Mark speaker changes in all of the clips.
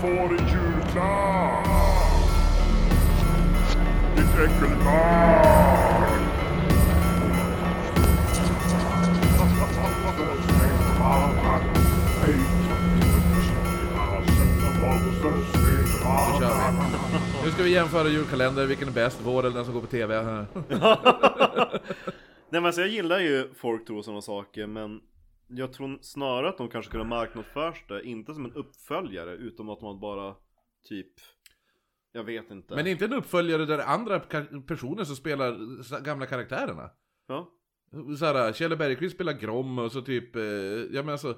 Speaker 1: får i julklapp? Ditt äckelbarn!
Speaker 2: Då kör vi. Nu ska vi jämföra julkalender, vilken är bäst? Vår eller den som går på TV?
Speaker 3: Nej men alltså jag gillar ju folk tror sådana saker men jag tror snarare att de kanske kunde marknadsförs det, inte som en uppföljare utan att man bara typ Jag vet inte
Speaker 2: Men inte en uppföljare där det är andra ka- personer som spelar s- gamla karaktärerna.
Speaker 3: ja.
Speaker 2: Såhär, Kjell Bergqvist spelar Grom och så typ, eh, ja men alltså,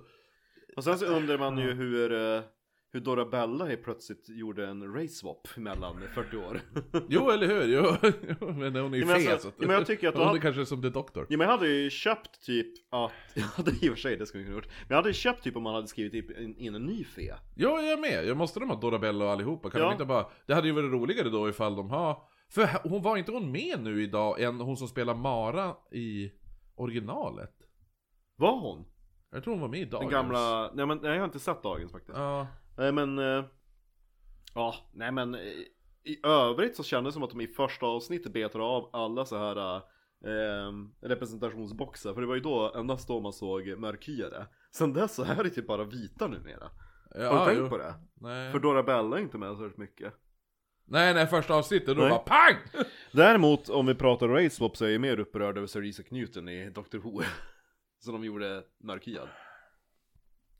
Speaker 3: Och sen så undrar man ju hur eh, Hur Dorabella helt plötsligt gjorde en race swap mellan 40 år
Speaker 2: jo eller hur, jo, jo, men hon är ju
Speaker 3: Ja, men
Speaker 2: fet.
Speaker 3: alltså,
Speaker 2: så att-
Speaker 3: ja, men jag tycker att
Speaker 2: hon
Speaker 3: han-
Speaker 2: är kanske som The Doctor.
Speaker 3: Ja men jag hade ju köpt typ, ja jag hade i och för sig det skulle jag kunna gjort Men jag hade ju köpt typ om man hade skrivit typ in, in en ny fe
Speaker 2: Ja, jag är med. Jag måste de ha Dorabella och allihopa? Kan
Speaker 3: Ja.
Speaker 2: de inte bara... Det hade ju varit roligare då ifall de har... För h- hon var inte hon med nu idag än hon som spelar Mara i originalet?
Speaker 3: Var hon?
Speaker 2: Jag tror hon var med idag.
Speaker 3: Den gamla, nej men nej, jag har inte sett dagens faktiskt
Speaker 2: Ja.
Speaker 3: Nej men, eh, ja, nej men eh, i övrigt så kändes det som att de i första avsnittet betade av alla så här eh, representationsboxar för det var ju då endast då man såg mörkhyade. Sen dess så är det typ bara vita numera.
Speaker 2: ja
Speaker 3: Har du tänkt
Speaker 2: jo.
Speaker 3: på det?
Speaker 2: Nej.
Speaker 3: För Dorabella är inte med så mycket.
Speaker 2: nej, nej, första avsnittet då
Speaker 3: Nej.
Speaker 2: bara PANG!
Speaker 3: Däremot om vi pratar race swap så är jag mer upprörd över Sir Isaac Newton i Doctor Who. Som de gjorde mörkhyad.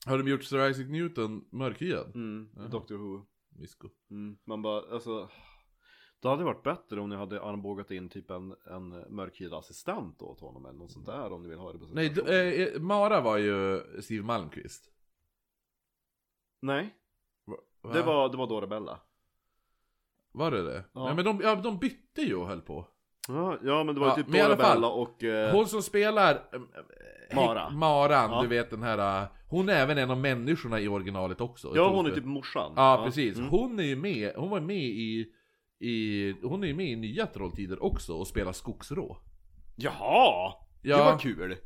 Speaker 2: Har de gjort Sir Isaac Newton mörkhyad?
Speaker 3: Mm,
Speaker 2: Jaha.
Speaker 3: Doctor Who.
Speaker 2: Misko.
Speaker 3: Mm, man bara, alltså Det hade varit bättre om ni hade armbågat in typ en, en mörkhyad assistent åt honom eller något sånt där om ni vill ha det
Speaker 2: Nej, d- eh, eh, Mara var ju Steve Malmqvist.
Speaker 3: Nej,
Speaker 2: Va?
Speaker 3: det var, det var Dorabella
Speaker 2: Var det det?
Speaker 3: Ja.
Speaker 2: Nej, men de, ja, de bytte ju och höll på.
Speaker 3: Ja, ja men det var
Speaker 2: Ja,
Speaker 3: ju typ
Speaker 2: men i alla
Speaker 3: Dorabella och... Eh,
Speaker 2: Hon som spelar eh, eh,
Speaker 3: Mara.
Speaker 2: Hick- Maran,
Speaker 3: Ja.
Speaker 2: du vet den här eh, Hon är även en av människorna i originalet också
Speaker 3: ja hon är typ morsan
Speaker 2: Ja precis,
Speaker 3: Mm.
Speaker 2: hon är ju med, hon var med i, i Hon är ju med i nya Trolltider också och spelar skogsrå
Speaker 3: Jaha!
Speaker 2: Ja,
Speaker 3: Det var kul!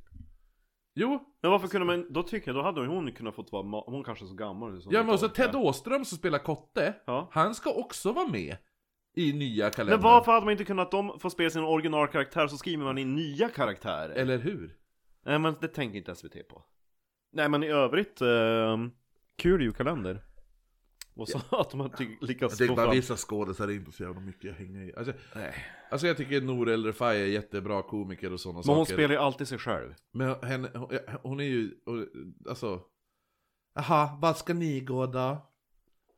Speaker 2: jo,
Speaker 3: Men varför kunde man, då tycker jag, då hade hon kunnat fått vara, ma- hon kanske är så gammal nu som
Speaker 2: ja
Speaker 3: hon
Speaker 2: men också
Speaker 3: inte orkar.
Speaker 2: Ted Åström som spelar Kotte
Speaker 3: Ja.
Speaker 2: Han ska också vara med i nya kalendern
Speaker 3: Men varför hade man inte kunnat, de får spela sin originalkaraktär så skriver man in nya karaktärer?
Speaker 2: Eller hur?
Speaker 3: Nej men det tänker inte SVT på Nej men i övrigt, eh, kul julkalender Och så att de har ty- lyckats få fram
Speaker 2: vissa skådisar är inte så jävla mycket att hänga i Alltså, alltså jag tycker Nour El Refai är jättebra komiker och sådana saker
Speaker 3: Men hon spelar ju alltid sig själv
Speaker 2: Men henne, hon, hon är ju, hon- alltså Aha, vad ska ni gå då?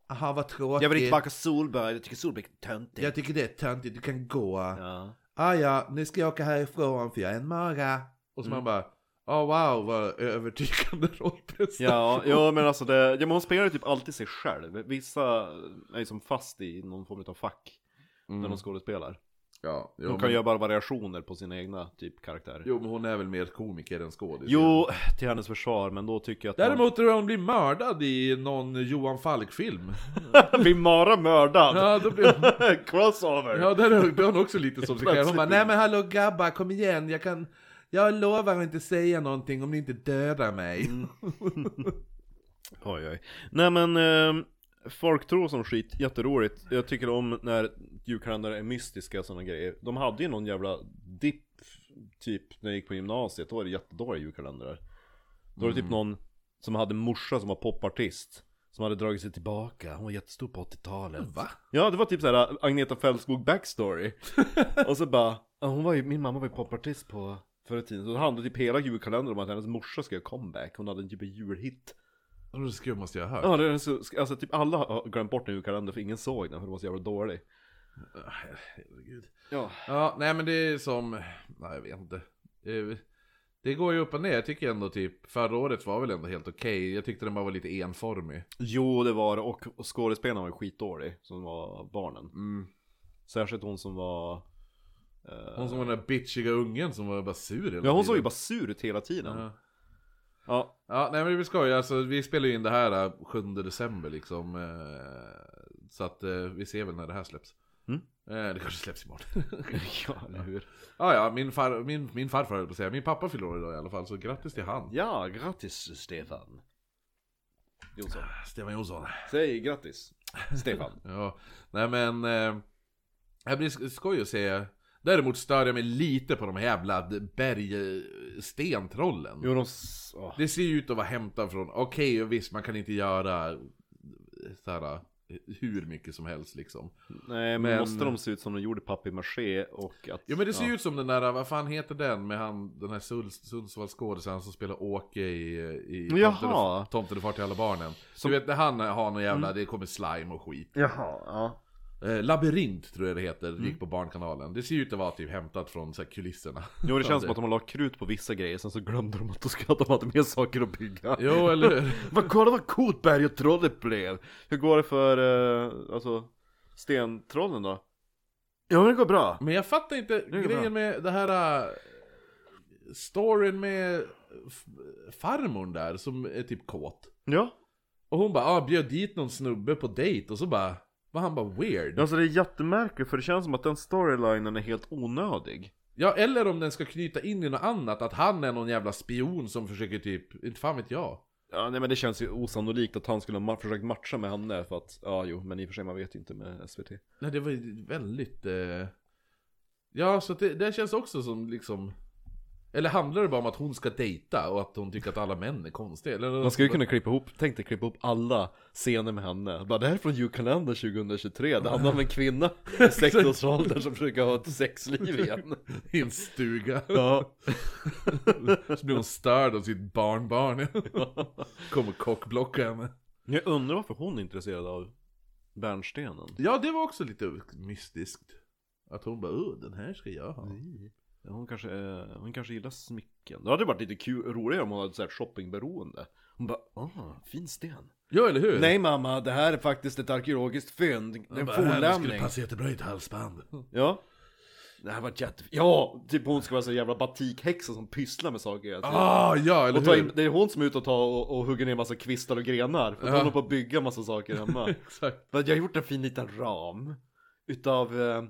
Speaker 2: Aha, vad tråkigt.
Speaker 3: backa Solberg, jag tycker Solberg är töntig
Speaker 2: Jag tycker det är töntigt, du kan gå.
Speaker 3: ja.
Speaker 2: Ah, ja, nu ska jag åka härifrån för jag är en mara. Och så
Speaker 3: Mm.
Speaker 2: man bara, åh wow, vad övertygande rollprestation.
Speaker 3: Ja, ja men alltså det, ja, men hon spelar ju typ alltid sig själv Vissa är ju som fast i någon form av fack när de skådespelar
Speaker 2: ja, Mm. jo,
Speaker 3: De kan
Speaker 2: men,
Speaker 3: göra bara variationer på sina egna typ karaktärer Jo,
Speaker 2: jo, men hon är väl mer komiker än skådis.
Speaker 3: till hennes försvar, men då tycker jag att
Speaker 2: Däremot tror jag hon blir mördad i någon Johan Falk-film.
Speaker 3: man... blir Mara mördad!
Speaker 2: Ja, då blir hon
Speaker 3: Crossover!
Speaker 2: Ja, där högg hon också lite som sig själv. Hon bara, nej
Speaker 3: Plötsligt.
Speaker 2: men hallå grabbar, kom igen, jag kan... Jag lovar att inte säga någonting om ni inte dödar mig.
Speaker 3: Oj, oj. Nej men, eh, folk tror som skit, jätteroligt. Jag tycker om när julkalendrar är mystiska och sådana grejer. De hade ju någon jävla dipp, typ när jag gick på gymnasiet, då var det jättedåliga julkalendrar. Då var det typ någon som hade en morsa som var popartist. Som hade dragit sig tillbaka, hon var jättestor på 80-talet.
Speaker 2: Va?
Speaker 3: Ja, det var typ såhär Agneta Fältskog backstory. och så bara, ja, hon var ju, min mamma var ju popartist på förr i tiden. Så det handlade typ hela julkalendern om att hennes morsa skulle göra comeback. Hon hade en typ av julhit.
Speaker 2: Och det skulle måste jag ha hört.
Speaker 3: Ja, det är så, alltså typ alla har glömt bort den julkalendern för ingen såg den för den var så jävla dålig.
Speaker 2: Ah, Herregud.
Speaker 3: Ja.
Speaker 2: Ja, nej men det är som... Nej, jag vet inte. Eh, Det går ju upp och ner. Jag tycker ändå typ, förra året var väl ändå helt okej. Jag tyckte den bara var lite enformig.
Speaker 3: Jo, det var det och, och skådespelarna var ju skitdålig som var barnen.
Speaker 2: Mm.
Speaker 3: Särskilt hon som var... eh,
Speaker 2: Hon som var den där bitchiga ungen som var bara sur hela
Speaker 3: ja, hon såg ju
Speaker 2: tiden.
Speaker 3: bara sur ut hela tiden. Ja.
Speaker 2: Ja. Ja, nej men vi ska ju, alltså vi spelar ju in det här eh, 7 december liksom. Eh, så att eh, vi ser väl när det här släpps.
Speaker 3: Mm.
Speaker 2: Eh, det kanske släpps imorgon.
Speaker 3: ja, eller hur?
Speaker 2: ah, ja, min, far, min, min farfar höll på att säga. Min pappa fyller år idag i alla fall, så grattis till han.
Speaker 3: Ja, grattis Stefan. Jonsson.
Speaker 2: Stefan Jonsson.
Speaker 3: Säg grattis, Stefan.
Speaker 2: Ja, nej men... Eh, det blir sk- skoj att se. Däremot stör jag mig lite på de här jävla d- bergstentrollen.
Speaker 3: Jo, de... s- åh.
Speaker 2: Det ser ju ut att vara hämtat från, okej och visst man kan inte göra så här, äh, hur mycket som helst liksom.
Speaker 3: Nej, men,
Speaker 2: Men-
Speaker 3: måste de se ut som de gjorde papier-maché och att...
Speaker 2: Ja men det ser ju ut som den där, vad fan heter den med han, den här Sunds- Sundsvallsskådisen som spelar Åke i, i
Speaker 3: Jaha. Mm.
Speaker 2: Tomten- Tomten och far till alla barnen. Så du vet när han har någon jävla, det kommer slime och skit.
Speaker 3: Jaha, ja.
Speaker 2: Eh, Labyrint tror jag det heter,
Speaker 3: Mm.
Speaker 2: gick på Barnkanalen. Det ser ju ut att vara typ hämtat från så här, kulisserna.
Speaker 3: Jo, det känns som att de har lagt krut på vissa grejer, sen så glömde de att de ska- de hade mer saker att bygga.
Speaker 2: Jo eller hur?
Speaker 3: Vad kolla vad coolt bergetrollet blev! Hur går det för, eh, alltså, stentrollen då? Ja men det går bra!
Speaker 2: Men jag fattar inte
Speaker 3: är
Speaker 2: grejen
Speaker 3: bra.
Speaker 2: med det här... äh, storyn med f- farmorn där som är typ kåt.
Speaker 3: Ja,
Speaker 2: Och hon bara ah, bjöd dit någon snubbe på dejt och så bara... Var han bara weird? Ja.
Speaker 3: alltså det är jättemärkligt för det känns som att den storylinen är helt onödig.
Speaker 2: eller om den ska knyta in i något annat, att han är någon jävla spion som försöker typ... Inte fan vet jag.
Speaker 3: Ja nej men det känns ju osannolikt att han skulle ha ma- försökt matcha med henne för att, ja jo, men i och för sig man vet ju inte med SVT.
Speaker 2: Nej det var ju väldigt... Eh... Ja så att det, det känns också som liksom... Eller handlar det bara om att hon ska dejta och att hon tycker att alla män är konstiga? Eller,
Speaker 3: Man skulle kunna klippa ihop, tänk dig klippa ihop alla scener med henne. Bara det här är från julkalendern 2023, det handlar om en kvinna i 16-årsåldern som försöker ha ett sexliv igen.
Speaker 2: I en stuga.
Speaker 3: Ja.
Speaker 2: Så blir hon störd av sitt barnbarn. Kommer kockblocka henne.
Speaker 3: Jag undrar varför hon är intresserad av bärnstenen.
Speaker 2: Ja, det var också lite mystiskt. Att hon bara, "Åh, den här ska jag
Speaker 3: Mm.
Speaker 2: ha.
Speaker 3: Ja, Hon kanske, eh, hon kanske gillar smycken. Det hade varit lite kul, roligare om hon hade så här shoppingberoende. Hon bara, ah, fin sten.
Speaker 2: Ja, eller hur?
Speaker 3: Nej mamma, det här är faktiskt ett arkeologiskt fynd. Det är
Speaker 2: Hon
Speaker 3: en
Speaker 2: bara, "Här, det skulle
Speaker 3: fornlämning. Mm.
Speaker 2: passa jättebra i ett halsband.
Speaker 3: Ja. Det här var jätte... Ja! Typ hon ska vara så jävla batikhäxa som pysslar med saker hela tiden.
Speaker 2: Ah, ja, eller
Speaker 3: Och ta
Speaker 2: hur?
Speaker 3: in, det är hon som är ute och, tar och, och hugger ner massa kvistar och grenar. För att hon håller på att bygga massa saker hemma.
Speaker 2: Exakt.
Speaker 3: För att jag har gjort en fin liten ram utav eh,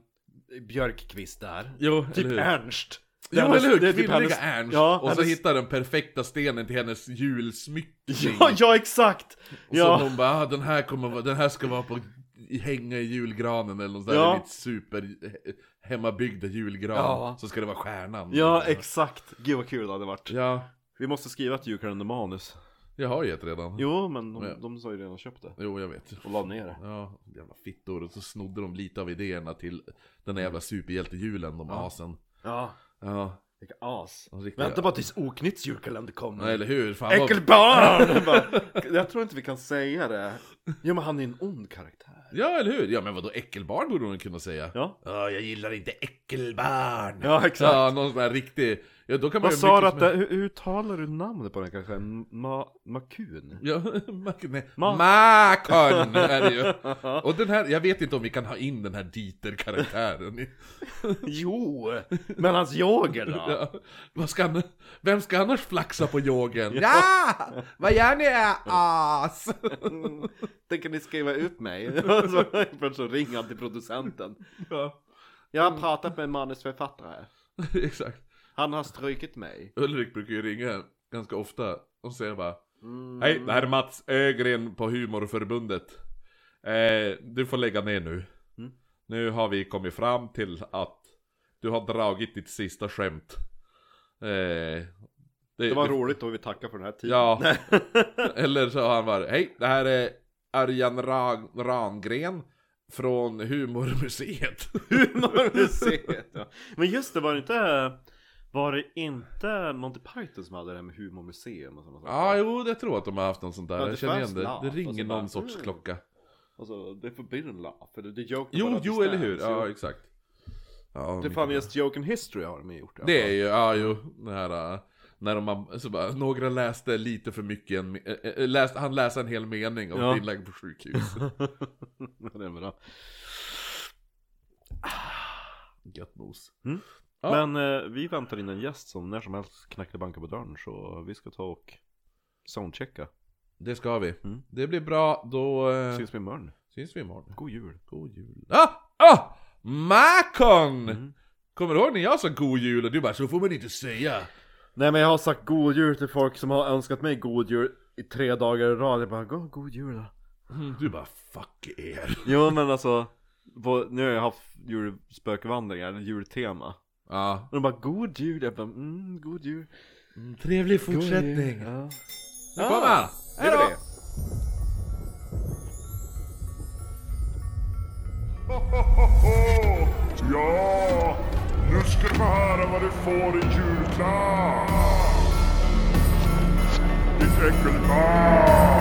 Speaker 3: björkkvistar.
Speaker 2: Jo,
Speaker 3: Typ
Speaker 2: eller hur?
Speaker 3: Ernst.
Speaker 2: Jo,
Speaker 3: hennes-
Speaker 2: eller hur?
Speaker 3: det är
Speaker 2: Kvinnliga
Speaker 3: typ hennes-
Speaker 2: Ernst.
Speaker 3: Ja,
Speaker 2: och så
Speaker 3: hennes-
Speaker 2: hittar den perfekta stenen till hennes julsmyckning.
Speaker 3: Ja, ja exakt!
Speaker 2: Och
Speaker 3: ja.
Speaker 2: så hon bara, ah, den, här kommer, vara- den här ska vara på i- hänga i julgranen eller något sånt där
Speaker 3: Ja.
Speaker 2: ja. mitt super he- hemmabyggda julgran
Speaker 3: Ja.
Speaker 2: Så ska det vara stjärnan
Speaker 3: ja, exakt. Gud vad kul det hade varit.
Speaker 2: Ja,
Speaker 3: Vi måste skriva ett julkalendermanus.
Speaker 2: jag har ju ett redan
Speaker 3: Jo, men de,
Speaker 2: Ja.
Speaker 3: de har ju redan köpt det.
Speaker 2: Jo, jag vet
Speaker 3: Och la ner det.
Speaker 2: Ja, jävla fittor och så snodde de lite av idéerna till den där jävla superhjältejulen, de asen
Speaker 3: Ja,
Speaker 2: Ja,
Speaker 3: vilka as.
Speaker 2: de riktiga...
Speaker 3: Vänta bara tills Oknytts julkalender kommer.
Speaker 2: Nej, eller hur? Fan vad...
Speaker 3: Äckelbarn! Bara, jag tror inte vi kan säga det. Ja men han är en ond karaktär.
Speaker 2: Ja, eller hur? Ja, men vadå äckelbarn borde hon kunna säga
Speaker 3: Ja.
Speaker 2: Ja, jag gillar inte äckelbarn
Speaker 3: Ja
Speaker 2: Ja, någon sån här riktig... Ja, då kan man
Speaker 3: Vad
Speaker 2: göra
Speaker 3: sa du
Speaker 2: mycket
Speaker 3: att
Speaker 2: som
Speaker 3: det, hur, hur talar du namnet på den kanske? Ma, Makun?
Speaker 2: Ja, Mac- nej.
Speaker 3: Ma-
Speaker 2: Macon är det ju. Och den här, jag vet inte om vi kan ha in den här Dieter-karaktären. i-
Speaker 3: Jo! Men hans jagel då?
Speaker 2: Ja. Vad ska han, vem ska annars flaxa på yogen? Ja! Vad gör ni eh, as?
Speaker 3: Tänker ni skriva ut mig? Så, så ringer han till producenten.
Speaker 2: Ja,
Speaker 3: Jag har pratat med en manusförfattare.
Speaker 2: exakt.
Speaker 3: Han har strykit mig.
Speaker 2: Ulrik brukar ju ringa ganska ofta och säga bara
Speaker 3: Mm.
Speaker 2: Hej, det här är Mats Ögren på Humorförbundet. Eh, du får lägga ner nu.
Speaker 3: Mm.
Speaker 2: Nu har vi kommit fram till att du har dragit ditt sista skämt. Eh, det,
Speaker 3: Det var roligt då vi tackar för den här tiden.
Speaker 2: Ja. Eller så har han bara, hej, det här är Arjan Ra- Rangren från Humormuseet.
Speaker 3: Humormuseet ja. Men just det, var det inte Var det inte Monty Python som hade det här med humormuseum och sådana
Speaker 2: Ja,
Speaker 3: saker?
Speaker 2: ah, jo, jag tror att de har haft någon sån
Speaker 3: Ja,
Speaker 2: där.
Speaker 3: det
Speaker 2: Jag känner
Speaker 3: fanns
Speaker 2: igen det.
Speaker 3: lapp
Speaker 2: Det
Speaker 3: och
Speaker 2: ringer
Speaker 3: så bara,
Speaker 2: någon sorts
Speaker 3: mm.
Speaker 2: klocka.
Speaker 3: Alltså, det är forbidden laugh, eller det är joke
Speaker 2: Jo,
Speaker 3: about
Speaker 2: jo,
Speaker 3: distance,
Speaker 2: eller hur?
Speaker 3: jo.
Speaker 2: Ja, exakt. Ja,
Speaker 3: The
Speaker 2: mycket bra.
Speaker 3: funniest joke in history har de ju gjort i alla
Speaker 2: Det är
Speaker 3: fall.
Speaker 2: ju, ja jo, det här äh, när de, så bara, några läste lite för mycket, en, äh, äh, läste, han läste en hel mening om
Speaker 3: Ja.
Speaker 2: ja. inlägg på sjukhus.
Speaker 3: det är bra. Ah,
Speaker 2: Gött mos. Mm. Ja.
Speaker 3: Men eh, vi väntar in en gäst som när som helst knackar banka på dörren så vi ska ta och soundchecka.
Speaker 2: Det ska vi.
Speaker 3: Mm.
Speaker 2: Det blir bra, då äh,
Speaker 3: Ses vi imorgon.
Speaker 2: syns vi imorgon.
Speaker 3: God jul.
Speaker 2: God jul. Ah! Ah! Macon!
Speaker 3: Mm.
Speaker 2: Kommer du ihåg när jag sa god jul och du bara så får man inte säga?
Speaker 3: Nej men jag har sagt god jul till folk som har önskat mig god jul i tre dagar i rad. Jag bara, god, god jul då.
Speaker 2: Mm. Du bara 'fuck er'
Speaker 3: Jo men alltså, på, nu har jag haft julspökvandringar, eller jultema.
Speaker 2: Ja,
Speaker 3: Och de bara, god jul. Jag bara, mm, god jul.
Speaker 2: Mm, Trevlig
Speaker 3: God jul. Ja.
Speaker 2: Nu kommer han!
Speaker 3: Hej då!
Speaker 1: Hohoho! Ja, nu ska du få höra vad du får i julklapp! Ditt äckelbarn!